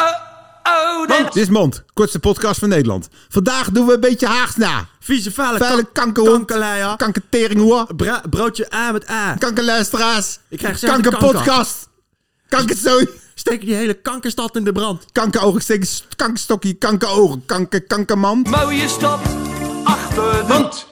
Oh, Dit is Mand, kortste podcast van Nederland. Vandaag doen we een beetje Haags na. Vieze vuile, Vuile kank- kankerhoor. kankerleier. Kankertering hoor. Bra- broodje A met A. Kankerluisteraars. Ik krijg zelf de Kankerpodcast. Kankerzooi. Steek die hele kankerstad in de brand. Kankeroog. Ik steek een st- kankerstokje. Kankerogen. Kanker, kankermand. Mooie stad achter de hand.